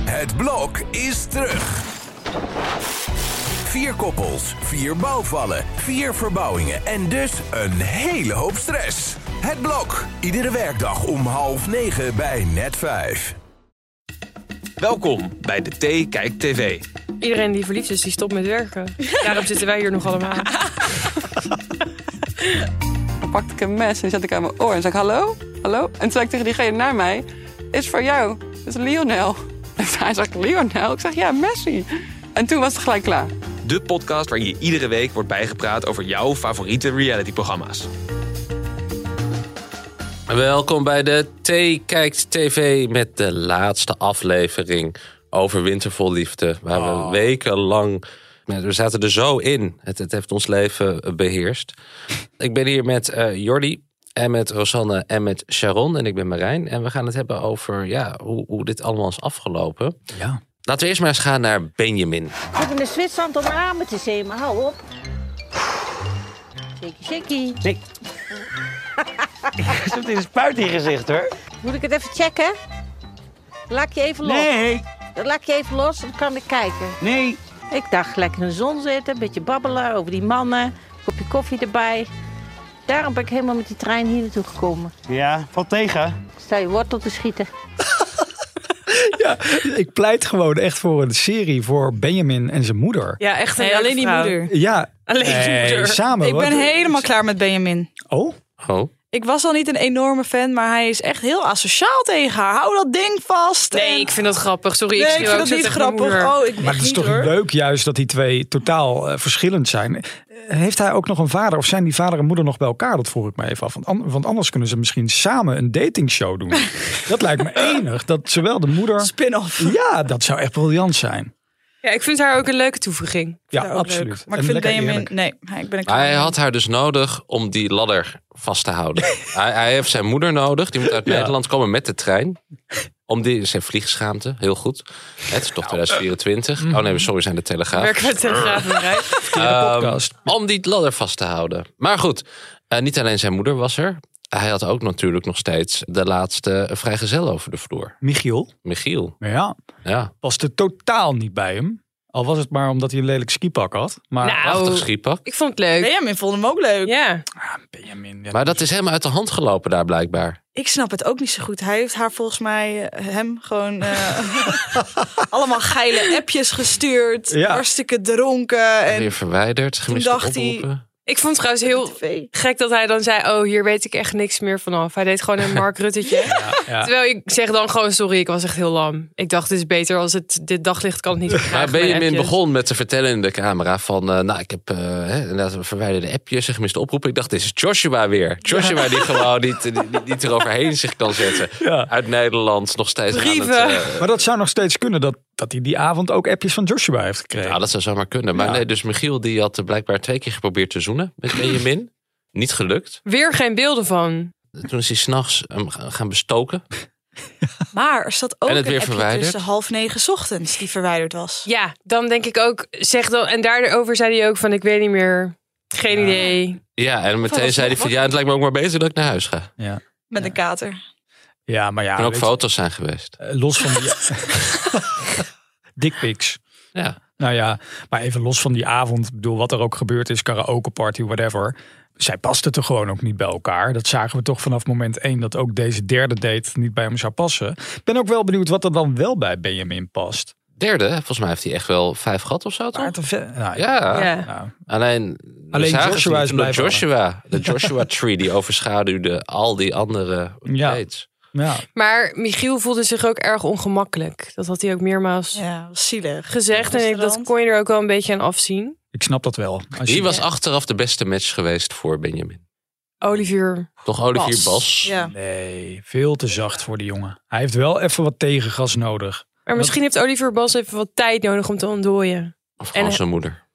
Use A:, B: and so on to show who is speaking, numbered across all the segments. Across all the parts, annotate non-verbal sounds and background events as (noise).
A: Het blok is terug. Vier koppels, vier bouwvallen, vier verbouwingen en dus een hele hoop stress. Het blok, iedere werkdag om half negen bij net vijf.
B: Welkom bij de T Kijk TV.
C: Iedereen die verliefd is, die stopt met (laughs) werken. Daarom zitten wij hier nog allemaal.
D: pakte ik een mes en zette ik aan mijn oor. En zei ik, hallo? Hallo? En toen zei ik tegen diegene naar mij, is voor jou. Het is Lionel. (laughs) En hij zegt, Lionel? Ik zeg, ja, Messi. En toen was het gelijk klaar.
B: De podcast waarin je iedere week wordt bijgepraat over jouw favoriete realityprogramma's.
E: Welkom bij de T Kijkt TV met de laatste aflevering over Wintervol Liefde. Waar we wekenlang... We zaten er zo in. Het, het heeft ons leven beheerst. Ik ben hier met eh, Jordi en met Rosanne en met Sharon. En ik ben Marijn. En we gaan het hebben over ja, hoe, hoe dit allemaal is afgelopen.
F: Ja.
E: Laten we eerst maar eens gaan naar Benjamin.
G: Ik heb in Zwitserland om armen te zeeën, maar hou op. Shaky, shaky. (laughs)
F: Nee. Ik heb een spuit in je gezicht hoor.
G: Moet ik het even checken? Laat ik je even los.
F: Nee,
G: Dan Laat ik je even los, dan kan ik kijken.
F: nee.
G: Ik dacht lekker in de zon zitten, een beetje babbelen over die mannen. Kopje koffie erbij. Daarom ben ik helemaal met die trein hier naartoe gekomen.
F: Ja, valt tegen.
G: Ik Sta je wortel te schieten.
H: Ik pleit gewoon echt voor een serie voor Benjamin en zijn moeder.
I: Ja, echt een
C: alleen die moeder.
H: Ja,
C: Alleen die
H: eh,
C: moeder.
H: samen.
I: Ik
H: hoor.
I: ben helemaal klaar met Benjamin.
H: Oh,
E: Oh.
I: Ik was al niet een enorme fan, maar hij is echt heel asociaal tegen haar. Hou dat ding vast.
C: Nee,
I: En-
C: ik vind dat grappig. Sorry, ik,
I: Nee,
C: schreeuw
I: ik vind
C: ook
I: dat
C: zo
I: niet
C: tegen mijn moeder.
I: grappig. Oh, ik
H: maar het
I: niet,
H: is toch
I: hoor.
H: leuk juist dat die twee totaal eh, verschillend zijn. Eh, Heeft hij ook nog een vader of zijn die vader en moeder nog bij elkaar? Dat vroeg ik me even af. Want, an- want anders kunnen ze misschien samen een datingshow
I: (laughs)
H: doen. dat lijkt me enig. Dat zowel de moeder...
I: Spin-off.
H: Ja, dat zou echt briljant zijn.
C: Ja, ik vind haar ook een leuke toevoeging.
H: Ja,
I: Ook leuk.
H: absoluut.
I: Maar ik
H: En
I: vind
H: lekker
I: Benjamin...
H: eerlijk.
I: Nee, hij- ik ben er klaar
E: Hij
I: mee.
E: had haar dus nodig om die ladder vast te houden. hij, hij heeft zijn moeder nodig. Die moet uit Nederland komen met de trein. Om die, zijn vliegschaamte, heel goed. Het is toch 2024. Oh nee, sorry, we zijn de Telegraaf.
C: Werken met de telegraaf en Rijk.
E: Ehm,
H: podcast.
E: om die ladder vast te houden. Maar goed, eh, niet alleen zijn moeder was er. Hij had ook natuurlijk nog steeds de laatste vrijgezel over de vloer.
H: Michiel?
E: Michiel,
H: Ja,
E: ja.
H: was er totaal niet bij hem. Al was het maar omdat hij een lelijk skipak had. Maar
C: Nou,
E: Prachtig schiepak.
C: Ik vond het leuk.
I: Benjamin vond hem ook leuk.
C: Ja,
H: Ah, Benjamin,
E: Maar dat is helemaal uit de hand gelopen daar blijkbaar.
I: Ik snap het ook niet zo goed. Hij heeft haar volgens mij, eh, hem, gewoon eh, (laughs) allemaal geile appjes gestuurd.
H: Ja.
I: Hartstikke dronken. En
E: Weer verwijderd, gemiste
I: dacht hij-
E: oproepen.
C: ik vond het trouwens heel
I: TV.
C: gek dat hij dan zei... oh, hier weet ik echt niks meer vanaf. Hij deed gewoon een Mark (laughs) Ruttetje. Terwijl ik zeg dan gewoon sorry, ik was echt heel lam. Ik dacht, het is beter als het dit daglicht kan het niet verdragen,
E: Maar Benjamin
C: appjes.
E: begon met te vertellen in de camera van... eh, nou, ik heb eh, hè, inderdaad verwijderde appjes en gemiste oproepen. Ik dacht, dit is Joshua weer. Joshua die gewoon niet, die, die- niet eroverheen zich kan zetten.
H: Ja.
E: Uit Nederland nog steeds aan
C: Brieven.
E: het... eh,
H: Maar dat zou nog steeds kunnen dat, dat hij die avond ook appjes van Joshua heeft gekregen.
E: nou, dat zou zomaar kunnen. Maar
H: Ja.
E: nee, dus Michiel die had eh, blijkbaar twee keer geprobeerd te zoenen
H: (clears throat)
E: met Benjamin. niet gelukt.
C: Weer geen beelden van.
E: Toen is hij s'nachts
H: ehm,
E: hem ga- gaan bestoken.
I: Maar er zat ook
E: En
I: een
E: het weer
I: appje
E: verwijderd.
I: tussen half negen 's ochtends die verwijderd was.
C: Ja, dan denk ik ook, zeg dan... En daarover zei hij ook van, ik weet niet meer... Geen idee.
E: Ja, en
I: dat
E: meteen
I: is
E: zei hij
I: nog
E: van...
I: wat.
E: ja, het lijkt me ook maar beter dat ik naar huis ga. Er
I: Met een kater.
H: ja, maar ja,
E: kunnen ook
H: weet je,
E: foto's zijn geweest.
H: eh, los van die...
E: (laughs)
H: Dickpics.
E: Ja.
H: Nou ja, maar even los van die avond. Ik bedoel, wat er ook gebeurd is, karaoke party, whatever. Zij pasten er gewoon ook niet bij elkaar. Dat zagen we toch vanaf moment één dat ook deze derde date niet bij hem zou passen. Ik ben ook wel benieuwd wat er dan wel bij Benjamin past.
E: Derde, volgens mij heeft hij echt wel vijf gehad of zo, toch?
H: Maarten Ve- nou,
E: Ah, Ja.
C: Ja.
H: nou,
E: Alleen,
H: Alleen Joshua is
E: de
H: blijven
E: Joshua, de Joshua tree die overschaduwde al die andere
H: Ja.
E: dates.
H: ja.
C: Maar Michiel voelde zich ook erg ongemakkelijk. Dat had hij ook meermaals
I: Ja, was zielig.
C: gezegd. En ik, dat
I: Restaurant.
C: kon je er ook wel een beetje aan afzien.
H: Ik snap dat wel. Als je-
E: Die was achteraf de beste match geweest voor Benjamin.
C: Olivier.
E: Toch Olivier Bas?
I: Ja.
H: Nee, veel te zacht voor die jongen. Hij heeft wel even wat tegengas nodig.
C: Maar misschien heeft Olivier Bas even wat tijd nodig om te ontdooien.
E: Of gewoon
C: En-
E: zijn moeder.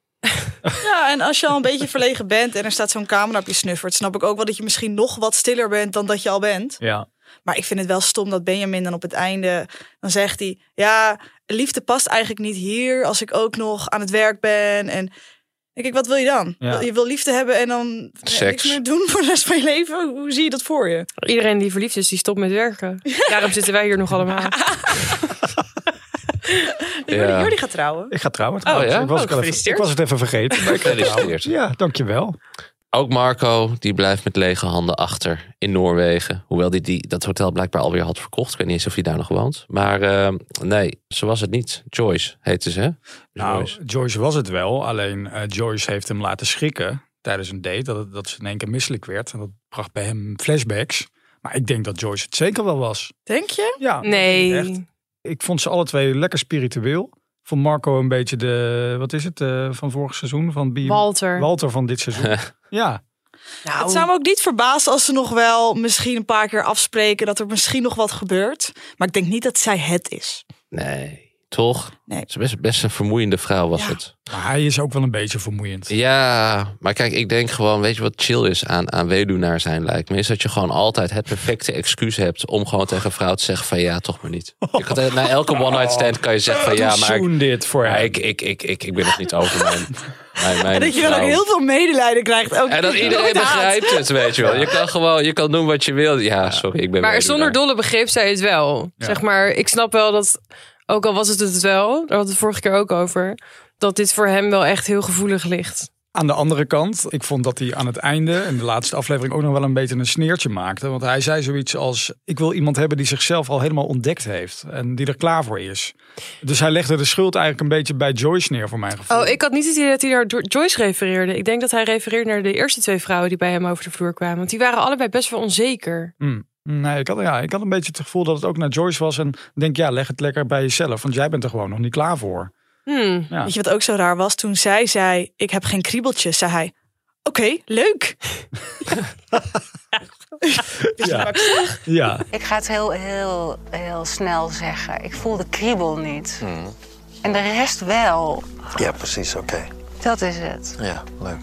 I: Ja, en als je al een beetje verlegen bent en er staat zo'n camera op je snuffert, snap ik ook wel dat je misschien nog wat stiller bent dan dat je al bent.
H: Ja.
I: Maar ik vind het wel stom dat Benjamin dan op het einde, dan zegt hij, ja, liefde past eigenlijk niet hier als ik ook nog aan het werk ben. En kijk, wat wil je dan?
H: Ja.
I: Je wil liefde hebben en dan eh,
E: Seks.
I: niks meer doen voor de rest van je leven? Hoe zie je dat voor je?
C: Iedereen die verliefd is, die stopt met werken. Daarom zitten wij hier nog allemaal.
I: Jordi,
E: Ja.
I: Jordi gaat trouwen.
H: Ik ga trouwen.
C: Oh,
H: trouwens.
E: ja?
H: Ik was,
C: Oh,
H: ik al even,
C: gefeliciteerd.
H: ik was het even vergeten. maar ik ga
E: (laughs)
H: trouwen.
E: Gefeliciteerd.
H: Ja, dankjewel.
E: Ook Marco, die blijft met lege handen achter in Noorwegen. Hoewel die, die dat hotel blijkbaar alweer had verkocht. Ik weet niet eens of hij daar nog woont. Maar eh, nee, zo was het niet. Joyce heette ze, hè?
H: Nou,
E: Joyce.
H: Joyce was het wel. Alleen eh, Joyce heeft hem laten schrikken tijdens een date. Dat, het- dat ze in één keer misselijk werd. En dat bracht bij hem flashbacks. Maar ik denk dat Joyce het zeker wel was.
I: Denk je?
H: Ja, echt.
C: Nee.
H: Ik vond ze alle twee lekker spiritueel. Vond Marco een beetje de, wat is het, eh, van vorig seizoen? Van Be
C: Walter.
H: Walter van
E: (laughs)
H: dit seizoen. ja,
I: Het zou me ook niet verbazen als ze nog wel misschien een paar keer afspreken dat er misschien nog wat gebeurt. Maar ik denk niet dat zij het is.
E: Nee, toch?
I: Nee.
E: Ze was best, best een vermoeiende vrouw was
I: Ja.
E: het.
H: maar hij is ook wel een beetje vermoeiend.
E: Ja, maar kijk, ik denk gewoon, weet je wat chill is aan, aan weduwnaar zijn lijkt me? Is dat je gewoon altijd het perfecte excuus hebt om gewoon tegen een vrouw te zeggen van ja, toch maar niet.
I: (laughs)
E: Je kan, tegen- na elke one night stand kan je zeggen van ja, maar ik,
H: Zoen dit voor
E: maar
H: hem.
E: ik, ik, ik, ik, ik ben nog niet over mijn,
I: (laughs)
E: mijn, mijn
I: en dat je dan ook
E: vrouw.
I: heel veel medelijden krijgt. Ook
E: En
I: (laughs)
E: dat iedereen
I: Inderdaad.
E: begrijpt het, weet je wel. Je kan gewoon, je kan doen wat je wil. Ja, sorry, ik ben
C: Maar
E: weduwnaar.
C: zonder dolle begrip zei het wel.
H: Ja.
C: Zeg maar, ik snap wel dat, ook al was het het wel, daar hadden we het vorige keer ook over, dat dit voor hem wel echt heel gevoelig ligt.
H: Aan de andere kant, ik vond dat hij aan het einde, in de laatste aflevering, ook nog wel een beetje een sneertje maakte. Want hij zei zoiets als: Ik wil iemand hebben die zichzelf al helemaal ontdekt heeft. En die er klaar voor is. Dus hij legde de schuld eigenlijk een beetje bij Joyce neer, voor mijn gevoel.
C: Oh, ik had niet het idee dat hij naar Jo- Joyce refereerde. Ik denk dat hij refereerde naar de eerste twee vrouwen die bij hem over de vloer kwamen. Want die waren allebei best wel onzeker.
H: Hmm. Nee, ik had, ja, ik had een beetje het gevoel dat het ook naar Joyce was. En ik denk, ja, leg het lekker bij jezelf. Want jij bent er gewoon nog niet klaar voor.
C: Hmm.
H: Ja.
I: Weet je wat ook zo raar was? Toen zij zei, ik heb geen kriebeltjes, zei hij... Oké, leuk.
H: Ja, ja.
J: Ik ga het heel, heel, heel snel zeggen. Ik voel de kriebel niet. En de rest wel.
A: Ja, precies, oké.
J: Dat is het.
A: Ja, leuk.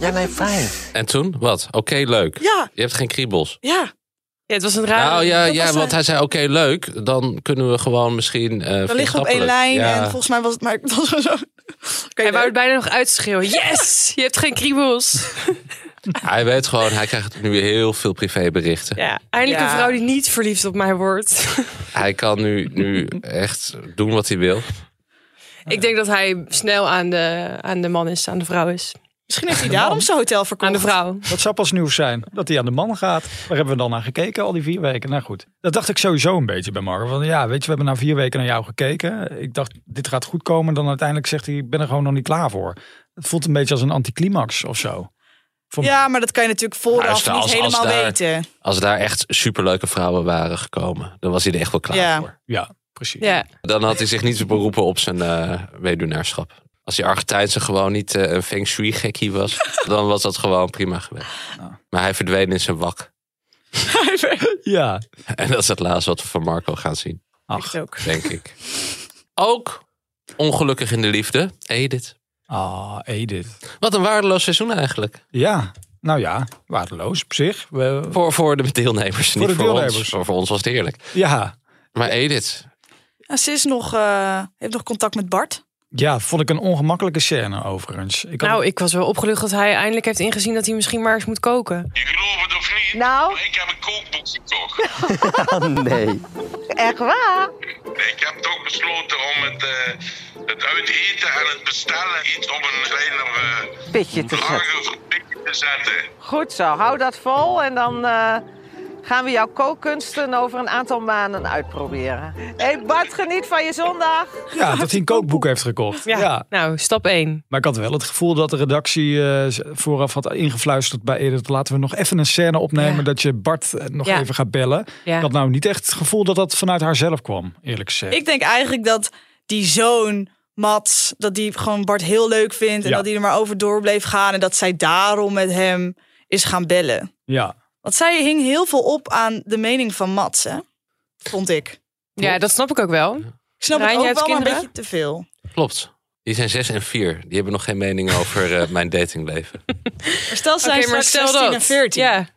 A: ja, nee, fijn.
E: En toen? Wat? Oké, leuk.
I: Ja,
E: Je hebt geen kriebels.
I: ja.
C: Ja, het was een raar.
E: nou ja,
I: dat
E: ja
I: was
E: want
I: hij.
E: hij zei oké, leuk. Dan kunnen we gewoon misschien eh
I: We liggen op één
E: vriendschappelijk.
I: lijn
E: Ja.
I: en volgens mij was het maar... Het was gewoon zo... Oké,
C: Hij wou
I: leuk.
C: het bijna nog uitschreeuwen. Yes, je hebt geen kriebels.
E: Hij weet gewoon, hij krijgt nu heel veel privéberichten.
C: Ja, eindelijk
I: Ja.
C: een vrouw die niet verliefd op mij
I: (laughs)
C: wordt.
E: Hij kan nu, nu echt doen wat hij wil.
C: Ik denk dat hij snel aan de, aan de man is, aan de vrouw is.
I: Misschien heeft hij daarom zijn hotel verkocht.
C: Aan de vrouw.
H: Dat zou pas nieuws zijn. Dat hij aan de man gaat. Waar hebben we dan naar gekeken al die vier weken? Nou goed, dat dacht ik sowieso een beetje bij Marco. Van ja, weet je, we hebben na vier weken naar jou gekeken. Ik dacht, dit gaat goed komen. Dan uiteindelijk zegt hij, ik ben er gewoon nog niet klaar voor. Het voelt een beetje als een anticlimax of zo. Voor mij.
I: Ja, maar dat kan je natuurlijk vooraf
E: Maar als-
I: niet
E: als- als
I: helemaal
E: daar-
I: weten.
E: Als daar echt superleuke vrouwen waren gekomen, dan was hij er echt wel klaar
I: Ja.
E: voor.
H: ja, precies.
C: Ja.
E: Dan had hij zich niet beroepen op zijn eh weduwnaarschap. Als die Argentijnse gewoon niet eh, een feng shui gekkie was, dan was dat gewoon prima geweest. Maar hij verdween in zijn wak. (laughs)
H: Ja.
E: En dat is het laatste wat we van Marco gaan zien,
H: Ach.
I: ook.
E: denk ik. Ook ongelukkig in de liefde, Edith.
H: Ah, Edith.
E: Wat een waardeloos seizoen eigenlijk.
H: Ja, nou ja, waardeloos op zich. We-
E: Voor, voor de deelnemers,
H: Voor
E: niet
H: de
E: voor ons.
H: deelnemers.
E: Voor, voor ons was het heerlijk.
H: ja.
E: Maar Edith,
I: Ja, Nou, ze is nog, eh, heeft nog contact met Bart.
H: ja, vond ik een ongemakkelijke scène overigens. Ik had-
C: Nou, ik was wel opgelucht dat hij eindelijk heeft ingezien dat hij misschien maar eens moet koken.
K: Je gelooft het of niet,
J: Nou,
K: maar ik heb een kookboek gekocht.
J: echt waar?
K: Nee, ik heb toch besloten om het, eh, het uiteten en het bestellen iets op een kleiner, eh
G: Pitje te zetten.
K: lager pitje te zetten.
G: Goed zo, hou dat vol en dan eh, gaan we jouw kookkunsten over een aantal maanden uitproberen. Hé hey Bart, geniet van je zondag.
H: ja, dat hij een kookboek heeft gekocht. ja.
C: Nou, stap 1.
H: Maar ik had wel het gevoel dat de redactie eh, z- vooraf had ingefluisterd bij Edith. Laten we nog even een scène opnemen
C: Ja.
H: dat je Bart eh, nog
C: Ja.
H: even gaat bellen.
C: Ja.
H: Ik had nou niet echt het gevoel dat dat vanuit haarzelf kwam, eerlijk gezegd.
I: Ik denk eigenlijk dat die zoon, Mats, dat die gewoon Bart heel leuk vindt. En
H: Ja.
I: dat hij er maar over door bleef gaan. En dat zij daarom met hem is gaan bellen.
H: Ja.
I: Want zij hing heel veel op aan de mening van Mats, hè? Vond ik.
C: Ja, dat snap ik ook wel.
I: Ik snap
C: Rijn,
I: het
C: jij
I: ook
C: hebt
I: wel, maar een
C: kinderen?
I: beetje te veel.
E: klopt. Die zijn zes en vier. Die hebben nog geen mening (laughs) over eh, mijn datingleven.
I: Maar stel, ze zijn
C: Oké, maar
I: straks
C: stel
I: 16
C: dat.
I: en 14.
C: Ja.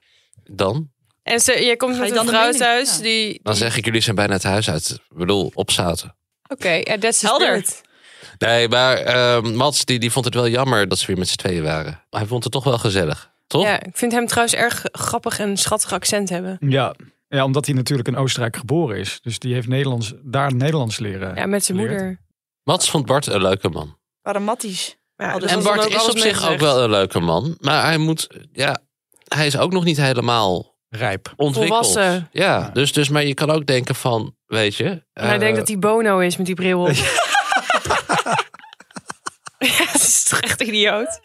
E: Dan?
C: En ze, jij komt
I: je
C: met
I: dan
C: een
I: de
C: vrouw
I: mening-
C: thuis
I: ja.
C: die...
E: Dan zeg ik, jullie zijn bijna het huis uit. Ik bedoel, opzaten.
C: Oké, ja, that's the
I: Helder.
C: spirit.
E: Nee, maar eh, Mats die, die vond het wel jammer dat ze weer met z'n tweeën waren. Maar hij vond het toch wel gezellig, toch?
C: Ja, ik vind hem trouwens erg grappig en schattig accent hebben.
H: Ja. Ja, omdat hij natuurlijk in Oostenrijk geboren is. Dus die heeft Nederlands, daar Nederlands leren.
C: Ja, met zijn
H: geleerd.
C: moeder.
E: Mats vond Bart een leuke man.
I: Waren matties.
C: Dus
I: Hadden ze
E: en
I: dan
E: Bart
I: ook
E: dus is
I: alles
E: op zich ook
I: meegezegd?
E: wel een leuke man. Maar hij moet, ja, hij is ook nog niet helemaal
H: rijp
E: ontwikkeld.
C: Volwassen.
E: Ja, dus, dus maar je kan ook denken van, weet je.
C: En hij
E: eh,
C: denkt dat hij Bono is met die bril
E: (laughs)
C: op. Ja, (laughs) dat is toch echt idioot?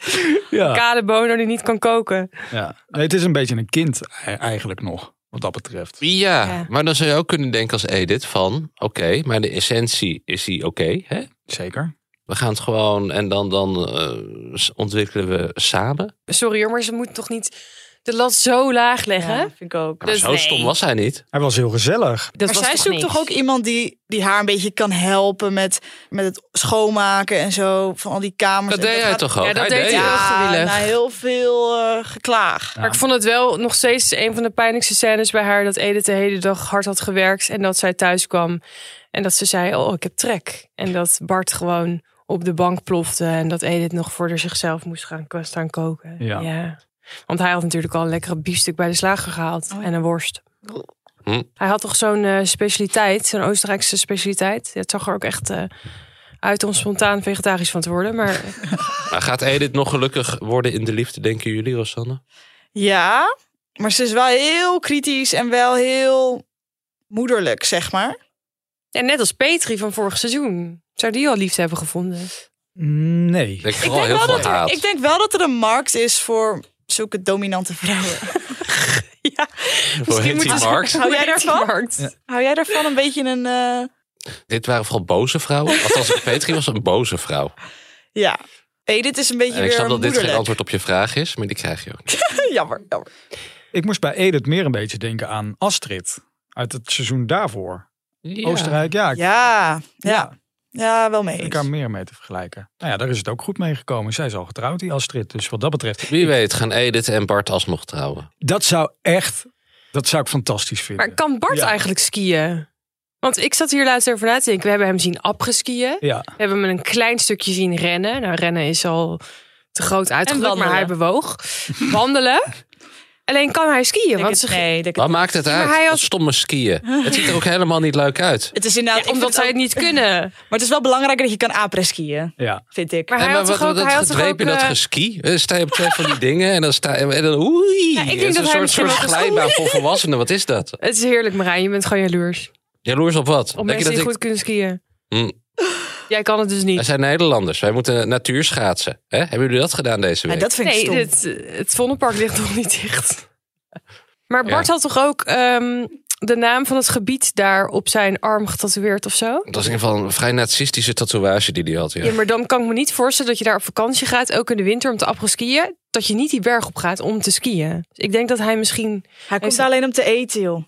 H: Ja.
C: Kale Bono die niet kan koken.
H: Ja. Nee, het is een beetje een kind e- eigenlijk nog, wat dat betreft.
E: Ja,
C: Ja.
E: maar dan zou je ook kunnen denken als Edith van... oké, maar de essentie is die oké, hè?
H: Zeker.
E: We gaan het gewoon en dan, dan eh, s- ontwikkelen we samen.
C: Sorry hoor, maar ze moet toch niet de lat zo laag leggen? Dus
I: Ja, vind ik ook.
E: Maar zo stom was hij niet.
H: Hij was heel gezellig.
I: maar zij zoekt toch ook iemand die, die haar een beetje kan helpen met, met het schoonmaken en zo. Van al die kamers.
E: Dat
I: En
E: deed hij
I: gaat-
E: toch ook?
C: Ja, dat
E: hij
C: deed hij ook.
E: het.
I: Ja,
C: gewillig.
I: na heel veel eh, geklaag.
C: Maar ik vond het wel nog steeds een van de pijnlijkste scènes bij haar... dat Edith de hele dag hard had gewerkt en dat zij thuis kwam. En dat ze zei, oh, ik heb trek. En dat Bart gewoon op de bank plofte... en dat Edith nog voor zichzelf moest gaan staan koken.
H: Ja.
C: Want hij had natuurlijk al een lekkere biefstuk bij de slager gehaald. En een worst.
E: Hm.
C: Hij had toch zo'n eh, specialiteit, zo'n Oostenrijkse specialiteit. Het zag er ook echt eh, uit om spontaan vegetarisch van te worden. Maar
E: Maar gaat Edith nog gelukkig worden in de liefde, denken jullie, Rosanne?
I: Ja, maar ze is wel heel kritisch en wel heel moederlijk, zeg maar.
C: ja, net als Petri van vorig seizoen. Zou die al liefde hebben gevonden?
H: Nee.
E: Ik denk
I: Ik
E: vooral
I: denk,
E: heel
I: wel
E: veel
I: dat er,
E: haat.
I: ik denk wel dat er een markt is voor zulke dominante (laughs) vrouwen.
E: Voor Hitty
C: moeten ze-
E: Marks.
I: Hou jij daarvan?
C: Markt.
I: Hou jij daarvan een beetje een... eh,
E: Dit waren vooral boze vrouwen. Althans, Petri was een boze vrouw.
I: ja. Edith is een beetje
E: En ik
I: weer
E: snap dat dit geen
I: moederlijk.
E: antwoord op je vraag is, maar die krijg je ook niet.
I: (laughs) jammer, jammer.
H: Ik moest bij Edith meer een beetje denken aan Astrid. Uit het seizoen daarvoor. Oostenrijk, ja. Ik
I: Ja, ja. Ja, wel mee
H: ik
I: eens.
H: kan meer mee te vergelijken. Nou ja, daar is het ook goed mee gekomen. Zij is al getrouwd, die Astrid. Dus wat dat betreft,
E: Wie weet gaan Edith en Bart alsnog trouwen.
H: dat zou echt, dat zou ik fantastisch vinden.
C: Maar kan Bart
H: Ja.
C: eigenlijk skiën? Want ik zat hier laatst over na te denken. We hebben hem zien apgeskiën.
H: Ja,
C: We hebben hem een klein stukje zien rennen. Nou, rennen is al te groot uitgedrukt, maar
I: wandelen.
C: hij bewoog. Wandelen. Alleen kan hij skiën, want ze...
I: nee, denk
E: Wat maakt het uit?
C: maar hij had-
E: Dat stomme skiën. Het ziet er ook helemaal niet leuk uit.
I: Het is inderdaad... ik
C: omdat
I: vind
C: zij
I: het
C: het
I: ook-
C: niet kunnen.
I: Maar het is wel belangrijker dat je kan apres-skiën,
H: ja.
I: vind ik.
C: Maar hij
E: Nee,
C: had
E: maar
C: toch ook...
E: dat
C: Hij had toch ook
E: gedrepen, dat
C: eh,
E: geski. Eh, Sta je op twee van die (laughs) dingen en dan sta je... En dan, oei,
C: ik denk
E: het is
C: dat
E: een
C: hij
E: soort,
C: misschien
E: soort
C: wel-
E: glijbaan voor volwassenen. Wat is dat?
C: het is heerlijk, Marijn. Je bent gewoon jaloers.
E: Jaloers op wat?
C: Op
E: Denk je
C: mensen die
E: dat
C: goed kunnen skiën.
E: Hm.
C: Jij kan het dus
E: Wij
C: niet.
E: zijn Nederlanders. Wij moeten natuurschaatsen. Hè? Hebben jullie dat gedaan deze
I: Ja,
E: week?
I: dat vind ik
C: Nee,
I: stom.
C: het, het Vondelpark ligt nog niet dicht. Maar
E: Ja.
C: Bart had toch ook ehm, de naam van het gebied daar op zijn arm getatoeëerd of zo?
E: Dat is in ieder geval een vrij nazistische tatoeage die hij had. Ja.
C: Ja. maar dan kan ik me niet voorstellen dat je daar op vakantie gaat, ook in de winter om te afgeskiën, dat je niet die berg op gaat om te skiën. Dus ik denk dat hij misschien.
I: Hij komt daar alleen om te eten, joh.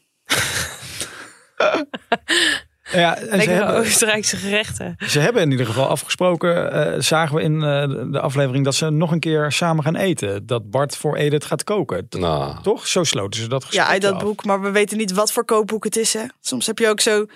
H: ja en ze
C: Lekker
H: hebben,
C: Oostenrijkse gerechten.
H: ze hebben in ieder geval afgesproken, eh, zagen we in eh, de aflevering, dat ze nog een keer samen gaan eten. Dat Bart voor Edith gaat koken. Dat-
E: Nou,
H: Toch? Zo sloten ze dat gesprek
I: Ja, uit dat
H: af.
I: boek. Maar we weten niet wat voor kookboek het is, hè. Soms heb je ook zo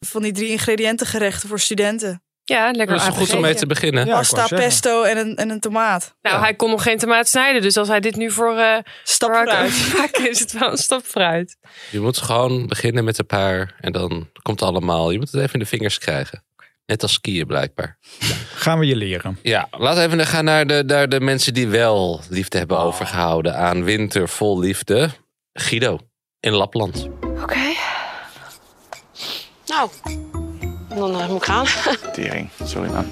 I: van die drie ingrediënten gerechten voor studenten.
C: Ja, lekker
E: dat is goed om mee te beginnen.
H: Ja, ik wou
I: Pasta,
H: zeggen.
I: pesto en een, en een tomaat.
C: Nou, hij kon nog geen tomaat snijden, dus als hij dit nu voor eh
I: Stap
C: Barack
I: vooruit.
C: over maakt, is het wel een stap vooruit.
E: Je moet gewoon beginnen met een paar en dan komt het allemaal. Je moet het even in de vingers krijgen. Net als skiën blijkbaar.
H: Gaan we je leren.
E: Ja, laten we even gaan naar de, naar de mensen die wel liefde hebben overgehouden aan winter vol liefde. Guido in Lapland.
J: Oké. Nou, dan eh, moet ik gaan.
L: Tering, sorry man.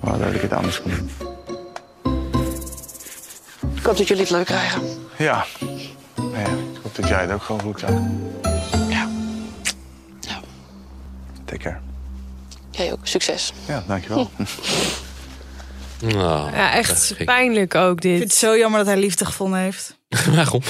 L: Waar dat ik het anders kon doen.
J: Ik hoop dat jullie het leuk krijgen.
L: Ja. Nou ja, ik hoop dat jij het ook gewoon goed krijgt.
J: Ja. Ja.
L: Take care.
J: Jij ook. Succes.
L: Ja, dankjewel.
F: Hm.
E: Nou,
C: Ja,
E: dat
C: echt
E: ging-
C: pijnlijk ook
I: Ik vind
C: dit.
I: het zo jammer dat hij liefde gevonden heeft. Dat
E: (laughs) Waarom?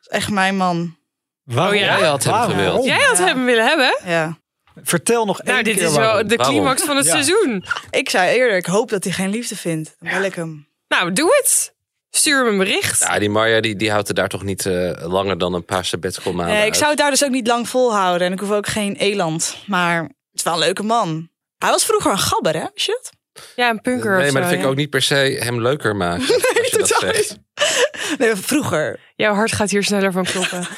I: is echt mijn man.
H: Waarom?
E: Jij had hem
H: Waarom?
E: gewild.
C: Jij had hem willen hebben.
I: Ja.
H: Vertel nog één
C: Nou, dit
H: keer
C: is wel
H: waarom.
C: de
E: Waarom?
C: climax van het
H: Ja.
C: seizoen.
I: Ik zei eerder, ik hoop dat hij geen liefde vindt. Dan bel ik hem.
C: Nou, doe het. Stuur hem een bericht.
E: Ja, die Marja die, die houdt er daar toch niet eh, langer dan een paar sabbatical
I: Nee, ik zou het daar dus ook niet lang volhouden. En ik hoef ook geen eland. Maar het is wel een leuke man. Hij was vroeger een gabber, hè? Wist je dat?
C: Ja, een punker
E: Nee,
C: of
E: maar
C: zo,
E: dat vind ik
C: ja.
E: ook niet per se hem leuker maken. als je dat
I: totaal
E: zegt.
I: Nee, vroeger.
E: (laughs)
C: Jouw hart gaat hier sneller van kloppen.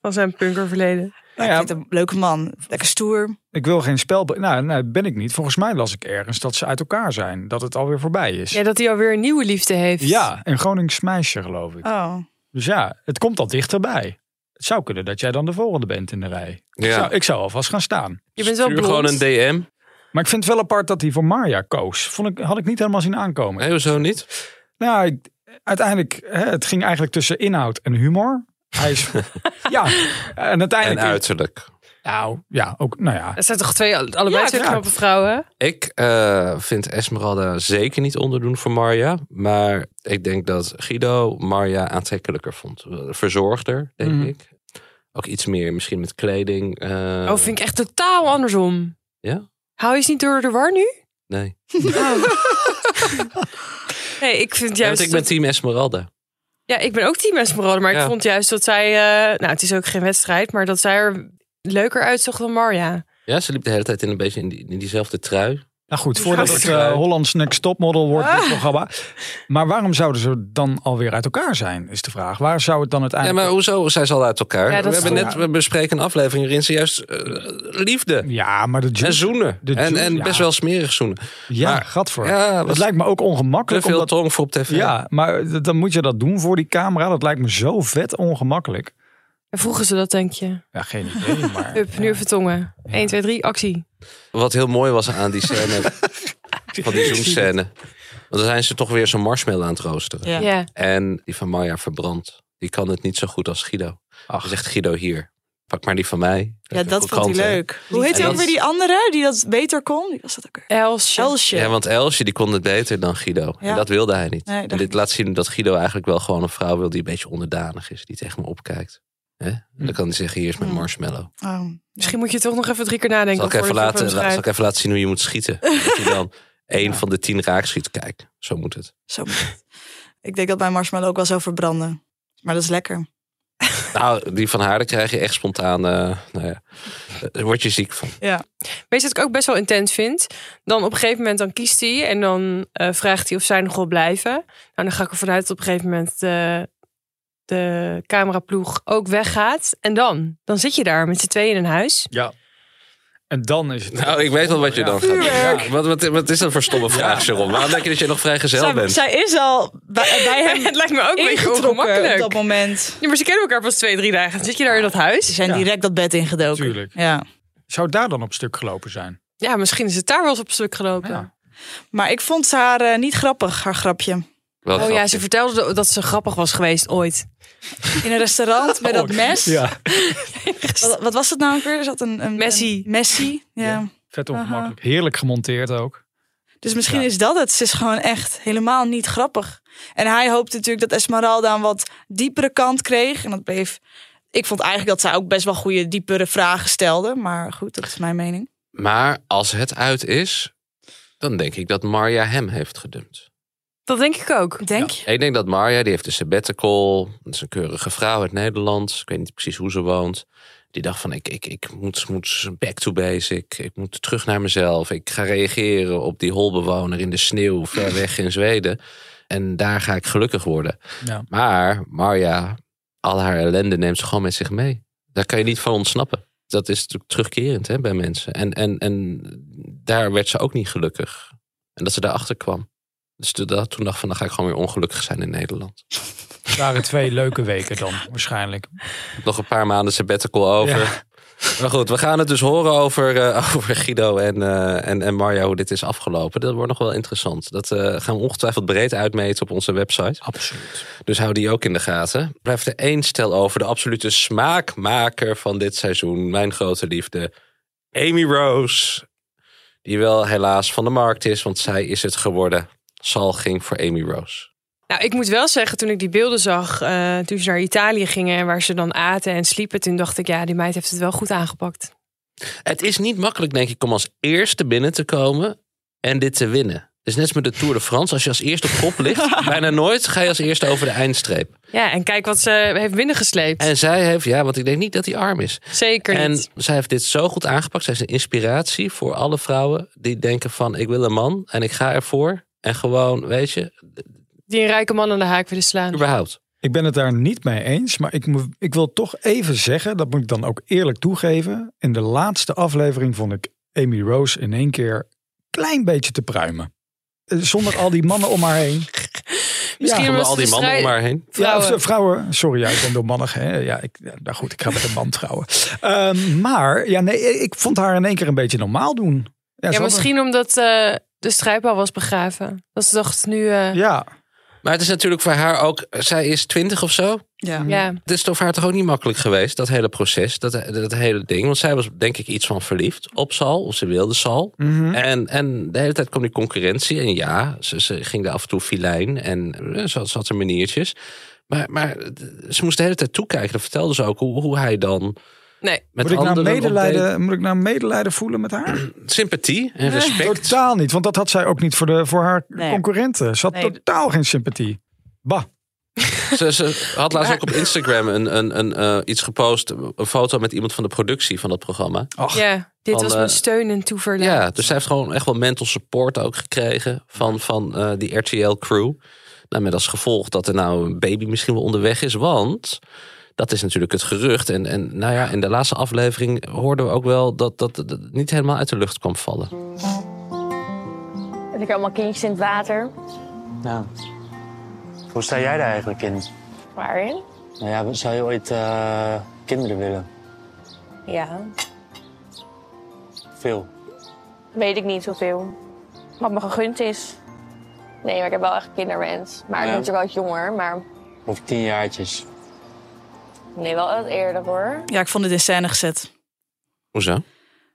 C: van zijn punkerverleden.
I: Nou ja, ik vind het een leuke man. Lekker stoer.
H: Ik wil geen spel. Nou, nou, ben ik niet. Volgens mij las ik ergens dat ze uit elkaar zijn. Dat het alweer voorbij is.
C: Ja, dat hij alweer een nieuwe liefde heeft.
H: Ja, een Gronings meisje, geloof ik.
I: Oh.
H: Dus ja, het komt al dichterbij. Het zou kunnen dat jij dan de volgende bent in de rij.
E: Ja.
H: Ik, zou, ik zou alvast gaan staan.
C: Je bent wel
E: Stuur gewoon een
C: blond.
E: DM.
H: Maar ik vind het wel apart dat hij voor Marja koos. Vond ik, had ik niet helemaal zien aankomen.
E: Nee, hoezo niet?
H: Nou, ik- uiteindelijk, hè, het ging eigenlijk tussen inhoud en humor. Hij
E: (laughs)
H: is, ja, en
E: En
H: uiteindelijk...
E: uiterlijk.
H: Nou, ja, ook, nou ja.
C: Dat zijn toch twee, allebei
H: Ja,
C: twee
H: ja.
C: knappe vrouwen?
E: Ik eh, vind Esmeralda zeker niet onderdoen voor Marja. Maar ik denk dat Guido Marja aantrekkelijker vond. Eh, Verzorgder, denk
C: Mhm.
E: ik. Ook iets meer misschien met kleding. eh,
C: oh, vind ik echt totaal andersom.
E: Ja?
C: Hou je eens niet door de war nu?
E: Nee.
C: Nee, ik vind
E: Ja, want
C: juist...
E: ik ben
C: dat-
E: team Esmeralda.
C: Ja, ik ben ook team Esmeralda, maar
E: Ja.
C: ik vond juist dat zij... eh, nou, het is ook geen wedstrijd, maar dat zij er leuker uitzag dan Marja.
E: Ja, ze liep de hele tijd in een beetje in, die- in diezelfde
C: Ah,
E: trui.
H: Nou goed, voordat het eh, Hollands Next Topmodel wordt, dit programma. Maar waarom zouden ze dan alweer uit elkaar zijn, is de vraag. Waar zou het dan
E: Ja,
H: uiteindelijk...
E: maar hoezo zijn ze al uit elkaar?
C: Ja, dat
E: we
C: is
E: hebben
C: goed.
E: net we bespreken een aflevering waarin ze juist eh, liefde
H: Ja, maar de
E: en
H: juice...
E: zoenen.
H: de
E: en
H: ju-
E: en
H: ja.
E: best wel smerig zoenen.
H: Ja,
E: maar-
H: gadver.
E: Ja,
H: dat
E: was-
H: lijkt me ook
E: Te
H: ongemakkelijk.
E: veel
H: Omdat,
E: tong voor op tv.
H: ja, maar d- dan moet je dat doen voor die camera. Dat lijkt me zo vet ongemakkelijk.
C: En vroegen ze dat, denk je?
H: Ja, geen
I: (laughs)
H: idee, maar...
C: Hup, nu vertongen. 1, 2, 3, actie.
E: Wat heel mooi was aan die scène. van die zoenscène. Want dan zijn ze toch weer zo'n marshmallow aan het roosteren.
C: Ja.
E: En die van Maya verbrandt. Die kan het niet zo goed als Guido. Ach, zegt Guido hier. Pak maar die van mij.
I: Ja, dat vond hij
E: Krant, hè?
I: leuk. Hoe heet
E: En
I: hij ook
E: dat-
I: weer die andere die dat beter kon? Wie was dat ook weer?
C: Els.
I: Elsje.
E: Ja, want Elsje die kon het beter dan Guido. En
I: Ja.
E: dat wilde hij niet.
I: Nee, dat
E: en dit
I: niet.
E: laat zien dat Guido eigenlijk wel gewoon een vrouw wil die een beetje onderdanig is. Die tegen me opkijkt. Hè? En
I: Hm.
E: Dan kan hij zeggen, hier is mijn marshmallow.
I: Oh.
C: Misschien moet je toch nog even drie keer nadenken.
E: Zal ik, even
C: voordat je
E: laten,
C: het
E: zal ik
C: opschrijft.
E: even laten zien hoe je moet
I: (laughs)
E: schieten. Dat hij dan één van de tien raak schiet. Kijk, zo moet het.
I: Zo. ik denk dat mijn marshmallow ook wel zou verbranden. Maar dat is lekker.
E: Nou, die van haar, daar krijg je echt spontaan. eh, nou ja, daar word je ziek van.
I: Ja.
C: Weet je wat ik ook best wel intens vind? Dan op een gegeven moment dan kiest hij en dan eh, vraagt hij of zij nog wil blijven. Nou, dan ga ik ervan uit dat op een gegeven moment de, de cameraploeg ook weggaat. En dan? Dan zit je daar met z'n tweeën in een huis.
H: Ja. En dan is het...
E: Nou, ik weet wel wat je
H: Ja.
E: dan gaat doen. Ja, wat, wat, wat is dat voor stomme vraag, Sharon? Waarom denk je dat je nog vrijgezel
I: Zij,
E: bent?
I: zij is al (laughs) bij, bij hem
C: Het lijkt me ook een beetje
I: ingetrokken op
C: ongemakkelijk.
I: dat moment.
C: Ja, maar ze kennen elkaar pas twee, drie dagen. Dan zit je daar in dat
I: Ze
C: huis?
I: zijn direct dat bed ingedoken.
H: Tuurlijk.
I: Ja.
H: Zou het daar dan op stuk gelopen zijn?
C: Ja, misschien is het daar wel eens op stuk gelopen.
H: Ja.
I: Maar ik vond ze haar eh, niet grappig, haar grapje.
E: Wel
C: Oh ja,
E: grappig.
C: ze vertelde dat ze grappig was geweest ooit.
I: In een restaurant
H: (laughs)
I: met dat mes.
H: Oh, Ja,
I: Wat, wat was dat nou ook weer? Er zat een, een
C: Messi.
I: een Messi. Ja.
H: vet ongemakkelijk. Heerlijk gemonteerd ook.
I: Dus misschien
H: Ja.
I: is dat het. Ze is gewoon echt helemaal niet grappig. En hij hoopte natuurlijk dat Esmeralda een wat diepere kant kreeg. En dat bleef. Ik vond eigenlijk dat zij ook best wel goede, diepere vragen stelde. Maar goed, dat is mijn mening.
E: Maar als het uit is, dan denk ik dat Marja hem heeft gedumpt.
C: Dat denk ik ook.
I: Denk je?
E: Ik denk dat Marja, die heeft een sabbatical. Dat is een keurige vrouw uit Nederland. Ik weet niet precies hoe ze woont. Die dacht van, ik, ik, ik moet, moet back to basic. Ik moet terug naar mezelf. Ik ga reageren op die holbewoner in de sneeuw ver weg in Zweden. En daar ga ik gelukkig worden.
H: Ja.
E: Maar Marja, al haar ellende neemt ze gewoon met zich mee. Daar kan je niet van ontsnappen. Dat is natuurlijk terugkerend hè, bij mensen. En, en, en daar werd ze ook niet gelukkig. En dat ze daarachter kwam. Dus toen dacht toen dacht van, dan ga ik gewoon weer ongelukkig zijn in Nederland.
H: Het waren twee leuke weken dan, waarschijnlijk.
E: Nog een paar maanden sabbatical over.
H: Ja.
E: (laughs) Maar goed, we gaan het dus horen over, eh, over Guido en, eh, en, en Marja, hoe dit is afgelopen. Dat wordt nog wel interessant. Dat eh, gaan we ongetwijfeld breed uitmeten op onze website.
H: Absoluut.
E: Dus hou die ook in de gaten. Blijft er één stel over. De absolute smaakmaker van dit seizoen. Mijn grote liefde. Amy Rose. Die wel helaas van de markt is. Want zij is het geworden. Sal ging voor Amy Rose.
C: Nou, ik moet wel zeggen, toen ik die beelden zag, eh, toen ze naar Italië gingen en waar ze dan aten en sliepen, toen dacht ik, ja, die meid heeft het wel goed aangepakt.
E: Het is niet makkelijk denk ik om als eerste binnen te komen. En dit te winnen. Het is net als met de Tour de France. Als je als eerste op kop ligt. bijna nooit ga je als eerste over de eindstreep.
C: Ja, en kijk wat ze heeft binnengesleept.
E: En zij heeft. Ja, want ik denk niet dat hij arm is.
C: Zeker
E: En
C: niet.
E: zij heeft dit zo goed aangepakt. Zij is een inspiratie voor alle vrouwen die denken van ik wil een man en ik ga ervoor. En gewoon, weet je,
C: Die een rijke man aan de haak willen slaan.
E: überhaupt.
H: Ik ben het daar niet mee eens, maar ik, mo- ik wil toch even zeggen, dat moet ik dan ook eerlijk toegeven. In de laatste aflevering vond ik Amy Rose in één keer een klein beetje te pruimen. Eh, Zonder al die mannen om haar heen.
C: (laughs) Misschien
E: Zonder
C: was
E: al
C: het
E: die
C: de
E: mannen om
C: strijd-
E: haar heen.
C: Vrouwen.
H: Ja, of, eh, vrouwen. Sorry, ja, ik ben doelmannig. Hè. Ja, ik, ja, nou goed, ik ga met een man trouwen. Ehm, maar ja, nee, ik vond haar in één keer een beetje normaal doen.
C: Ja,
H: ze had
C: misschien omdat eh, de strijdbal was begraven. Dat ze dacht nu... eh,
H: een- ja.
E: Maar het is natuurlijk voor haar ook... Zij is twintig of zo.
I: Ja.
C: ja.
E: Het is toch voor haar toch ook niet makkelijk geweest, dat hele proces, dat, dat hele ding. Want zij was denk ik iets van verliefd op Sal, of ze wilde Sal.
H: Hm?
E: En, en de hele tijd kwam die concurrentie. En ja, ze, ze ging er af en toe filijn en eh, ze had, ze had haar maniertjes. Maar, maar eh, ze moest de hele tijd toekijken. Dat vertelde ze ook hoe, hoe hij dan
C: Nee.
E: met
H: moet, ik nou
E: anderen
H: medelijden,
E: opdeed.
H: moet ik nou medelijden voelen met haar?
E: Sympathie en respect.
H: Totaal niet, want dat had zij ook niet voor, de, voor haar
I: Nee.
H: concurrenten. Ze had
I: Nee.
H: totaal geen sympathie. Bah.
E: Ze, ze had laatst ook op Instagram een, een, een, eh, iets gepost. Een foto met iemand van de productie van dat programma.
H: Ach,
C: ja, dit
E: Van,
C: was
E: eh,
C: mijn steun en toeverlaat.
E: Ja, dus zij heeft gewoon echt wel mental support ook gekregen van, van eh, die RTL-crew. Nou, met als gevolg dat er nou een baby misschien wel onderweg is, want dat is natuurlijk het gerucht. En, en nou ja, in de laatste aflevering hoorden we ook wel dat dat, dat het niet helemaal uit de lucht kwam vallen.
M: Heb ik allemaal kindjes in het water?
N: Nou, hoe sta jij daar eigenlijk in?
M: Waarin?
N: Nou ja, zou je ooit eh, kinderen willen?
M: Ja.
N: Veel.
M: Weet ik niet zoveel. Wat me gegund is. Nee, maar ik heb wel echt kinderwens. Maar ik
N: Ja.
M: ben natuurlijk wel wat jonger. Maar
N: Of tien jaartjes?
M: nee, wel wat eerder hoor.
I: Ja, ik vond het in scène gezet.
E: Hoezo?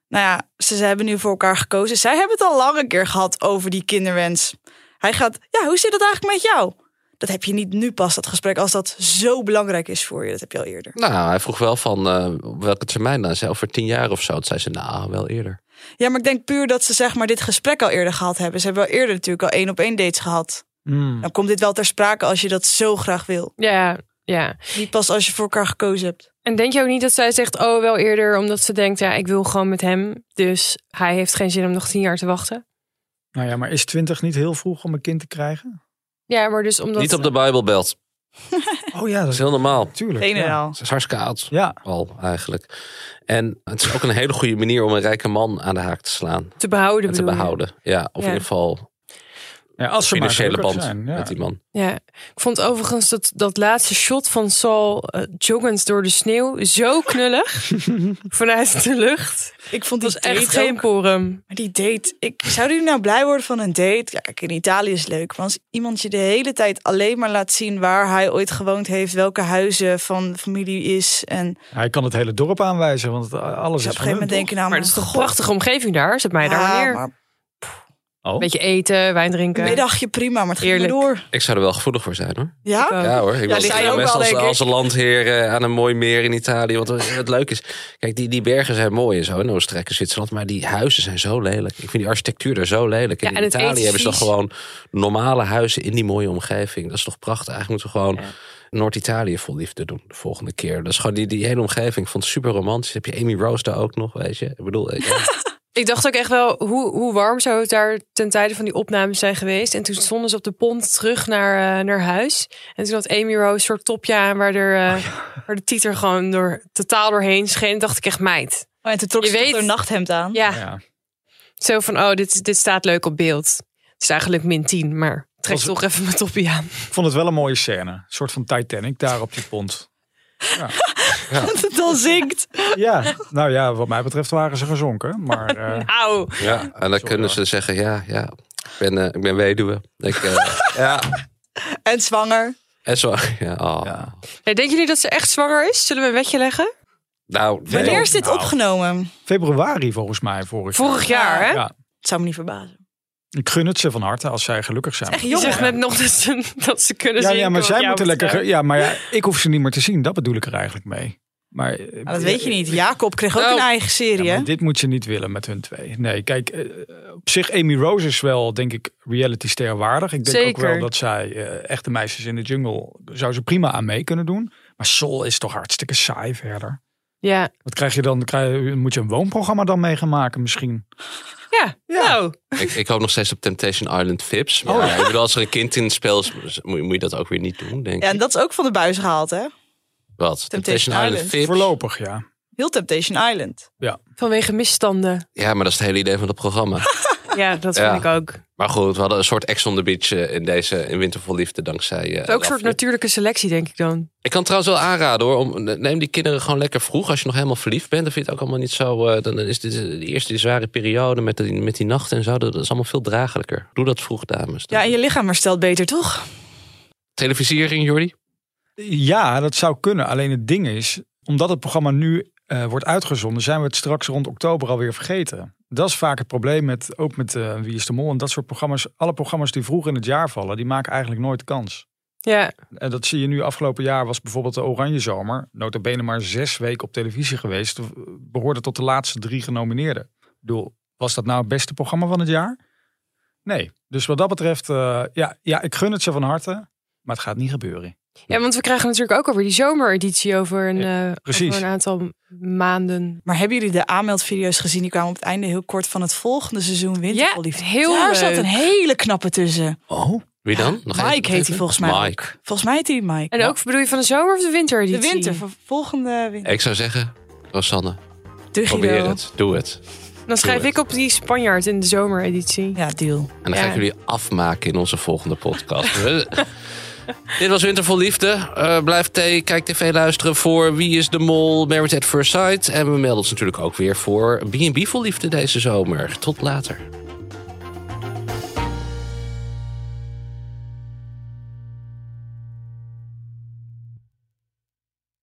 I: Nou ja, ze, ze hebben nu voor elkaar gekozen. Zij hebben het al lang een keer gehad over die kinderwens. Hij gaat, ja, hoe zit dat eigenlijk met jou? Dat heb je niet nu pas, dat gesprek, als dat zo belangrijk is voor je. Dat heb je al eerder.
E: Nou, hij vroeg wel van eh, op welke termijn dan? Zei over tien jaar of zo. Toen zei ze, nou, wel eerder.
I: Ja, maar ik denk puur dat ze zeg maar dit gesprek al eerder gehad hebben. Ze hebben al eerder natuurlijk al één op één dates gehad. Dan komt dit wel ter sprake als je dat zo graag wil.
C: Ja, ja.
I: Niet pas als je voor elkaar gekozen hebt.
C: En denk je ook niet dat zij zegt, oh wel eerder, omdat ze denkt, ja, ik wil gewoon met hem. Dus hij heeft geen zin om nog tien jaar te wachten.
H: Nou ja, maar is 20 niet heel vroeg om een kind te krijgen?
C: Ja, maar dus omdat...
E: Niet op de Bijbelbelt.
H: Oh ja,
E: Dat
H: dat
E: is heel normaal.
H: natuurlijk.
I: Generaal.
E: Het is hartstikke oud.
H: Ja.
E: Al eigenlijk. En het is ook een hele goede manier om een rijke man aan de haak te slaan.
C: Te behouden
E: en te
C: bedoel je?
E: behouden. Ja, of in
C: Ja.
E: ieder geval
H: Ja, als ze maar
E: financiële band
H: gelukkig zijn, ja.
E: met die man.
C: Ja, ik vond overigens dat, dat laatste shot van Saul eh, joggend door de sneeuw zo (laughs) knullig. vanuit de lucht.
I: Ik vond
C: Dat
I: die
C: was echt
I: date
C: geen
I: ook-
C: porum.
I: Maar die date, ik, zouden jullie nou blij worden van een date? Ja, Kijk, in Italië is het leuk. Maar als iemand je de hele tijd alleen maar laat zien waar hij ooit gewoond heeft, welke huizen van familie is. En
H: Hij kan het hele dorp aanwijzen, want het- alles
I: dus op
H: is
I: een gegeven moment denk je nou,
C: Maar het is toch een prachtige omgeving daar? Zet mij daar
I: Ja,
C: neer.
I: maar-
C: Beetje eten, wijn drinken.
I: middagje prima, maar het ging maar
C: Eerlijk.
I: door.
E: Ik zou er wel gevoelig voor zijn hoor.
I: Ja?
E: Ja hoor, ik
I: Ja,
E: ben
I: zij
E: ja,
I: ook
E: best
I: wel,
E: als,
I: denk ik.
E: als een landheer eh, aan een mooi meer in Italië. Want het- het leuke is, kijk die, die bergen zijn mooi en zo in Oostenrijk en Zwitserland. Maar die huizen zijn zo lelijk. Ik vind die architectuur daar zo lelijk. En
C: Ja,
E: in
C: en het eten
E: Italië
C: is
E: hebben ze toch
C: vies.
E: gewoon normale huizen in die mooie omgeving. Dat is toch prachtig. Eigenlijk moeten we gewoon Noord-Italië vol liefde doen de volgende keer. Dat is gewoon die, die hele omgeving. Ik vond het super romantisch. Heb je Amy Rose daar ook nog, weet je. Ik bedoel, eh, ja.
C: Ik dacht ook echt wel, hoe, hoe warm zou het daar ten tijde van die opnames zijn geweest? En toen stonden ze op de pont terug naar, eh, naar huis. En toen had Amy Rose een soort topje aan waar, er, eh,
H: Oh
C: waar de titer gewoon door, totaal doorheen scheen. En dacht ik echt, meid.
I: Oh, en toen trok
C: Je
I: ze toch
C: weet-
I: haar nachthemd aan.
C: Ja,
H: Hm? Oh. Ja.
C: zo van, oh, dit, dit staat leuk op beeld. Het is eigenlijk min 10, maar trek
H: Was-
C: toch even mijn topje aan.
H: Ik vond het wel een mooie scène. Een soort van Titanic daar op die pont.
I: (laughs) Dat het dan zinkt.
H: Ja, nou ja, wat mij betreft waren ze gezonken. Maar eh,
C: Au.
E: (laughs) Ja, en dan kunnen ze zeggen, ja, ja, ik ben, eh, ik ben weduwe. Ik, eh, (laughs) ja,
I: En zwanger.
E: en zo. Ja, oh.
C: Nee, denken jullie dat ze echt zwanger is? Zullen we een wetje leggen?
E: Nou, nee.
I: Wanneer is dit
H: Nou.
I: opgenomen? Het
H: februari volgens mij vorig,
C: Vorig jaar, hè?
H: Ja.
I: zou me niet verbazen.
H: Ik gun het ze van harte als zij gelukkig zijn.
I: Echt
C: Je
I: jong.
C: zegt
I: hè?
C: net nog dat ze, (laughs) dat ze
I: Dus
C: kunnen
H: Ja,
C: zien.
H: ja, maar zij moeten lekker. ge- Ja, maar ja, ik hoef ze niet meer te zien. Dat bedoel ik er eigenlijk mee. Maar, eh,
I: Nou, dat weet je niet. Jacob kreeg
C: Nou.
I: ook een eigen serie,
H: Ja,
I: hè?
H: maar dit moet je niet willen met hun twee. Nee, kijk, eh, op zich Amy Rose is wel, denk ik, realityster waardig. Ik denk ook
C: Zeker.
H: wel dat zij eh, echte meisjes in de jungle zou ze prima aan mee kunnen doen. Maar Sol is toch hartstikke saai verder.
C: Ja,
H: Wat krijg je dan? Krijg, moet je een woonprogramma dan mee gaan maken misschien?
C: Ja, nou.
E: Ik, ik hoop nog steeds op Temptation Island
I: Oh,
E: Vips. Maar ja, ik bedoel, als er een kind in het spel is, moet, moet je dat ook weer niet doen, denk ik.
I: Ja, en dat is ook van de buis gehaald, hè?
E: Wat?
I: Temptation Island.
E: Vips?
H: Voorlopig, ja.
I: Heel Temptation Island.
H: Ja.
C: Vanwege misstanden.
E: Ja, maar dat is het hele idee van het
I: (laughs)
E: programma.
C: Ja, dat
E: Ja.
C: vind ik ook.
E: Maar goed, we hadden een soort ex on the beach eh, in deze in Winter vol Liefde dankzij. eh,
C: Het is ook een soort
E: Raffi.
C: natuurlijke selectie, denk ik dan.
E: Ik kan trouwens wel aanraden hoor. Om, neem die kinderen gewoon lekker vroeg. Als je nog helemaal verliefd bent, dan vind je het ook allemaal niet zo. eh, dan is dit de eerste die zware periode met die, met die nachten en zo. Dat is allemaal veel dragelijker. Doe dat vroeg, dames.
I: Ja, en je lichaam herstelt beter, toch?
E: Televisiering, Jordi?
H: Ja, dat zou kunnen. Alleen het ding is, omdat het programma nu eh, wordt uitgezonden, zijn we het straks rond oktober alweer vergeten. Dat is vaak het probleem met ook met eh, Wie is de Mol en dat soort programma's. Alle programma's die vroeg in het jaar vallen, die maken eigenlijk nooit kans.
C: Ja,
H: En dat zie je nu. Afgelopen jaar was bijvoorbeeld de Oranje Zomer. Nota bene maar zes weken op televisie geweest. eh, Behoorde tot de laatste drie genomineerden. Ik bedoel, was dat nou het beste programma van het jaar? Nee. Dus wat dat betreft, eh, ja, ja, ik gun het ze van harte. Maar het gaat niet gebeuren.
C: ja want we krijgen natuurlijk ook alweer die zomereditie over een, eh,
H: precies.
C: over een aantal maanden.
I: Maar hebben jullie de aanmeldvideo's gezien? Die kwamen op het einde heel kort van het volgende seizoen Winterolief.
C: Ja, heel
I: Daar zat
C: leuk.
I: een hele knappe tussen.
H: Oh,
E: Wie dan? Nog even-
I: Mike heet
E: even?
I: hij volgens mij.
E: Mike.
I: ook. Volgens mij heet hij Mike.
C: En ook bedoel je van de zomer of de
I: de
C: wintereditie?
I: winter, van volgende winter.
E: Ik zou zeggen, Rosanne,
I: Doe
E: probeer
I: Guido.
E: het. Doe het.
C: Dan schrijf ik op die Spanjaard in de zomereditie.
I: Ja, deal.
E: En dan ga ik jullie afmaken in onze volgende podcast. (laughs) We- Dit was Winter vol Liefde. Eh, blijf thee, kijk tv luisteren voor Wie is de Mol, Married at First Sight. En we melden ons natuurlijk ook weer voor B&B vol Liefde deze zomer. Tot later.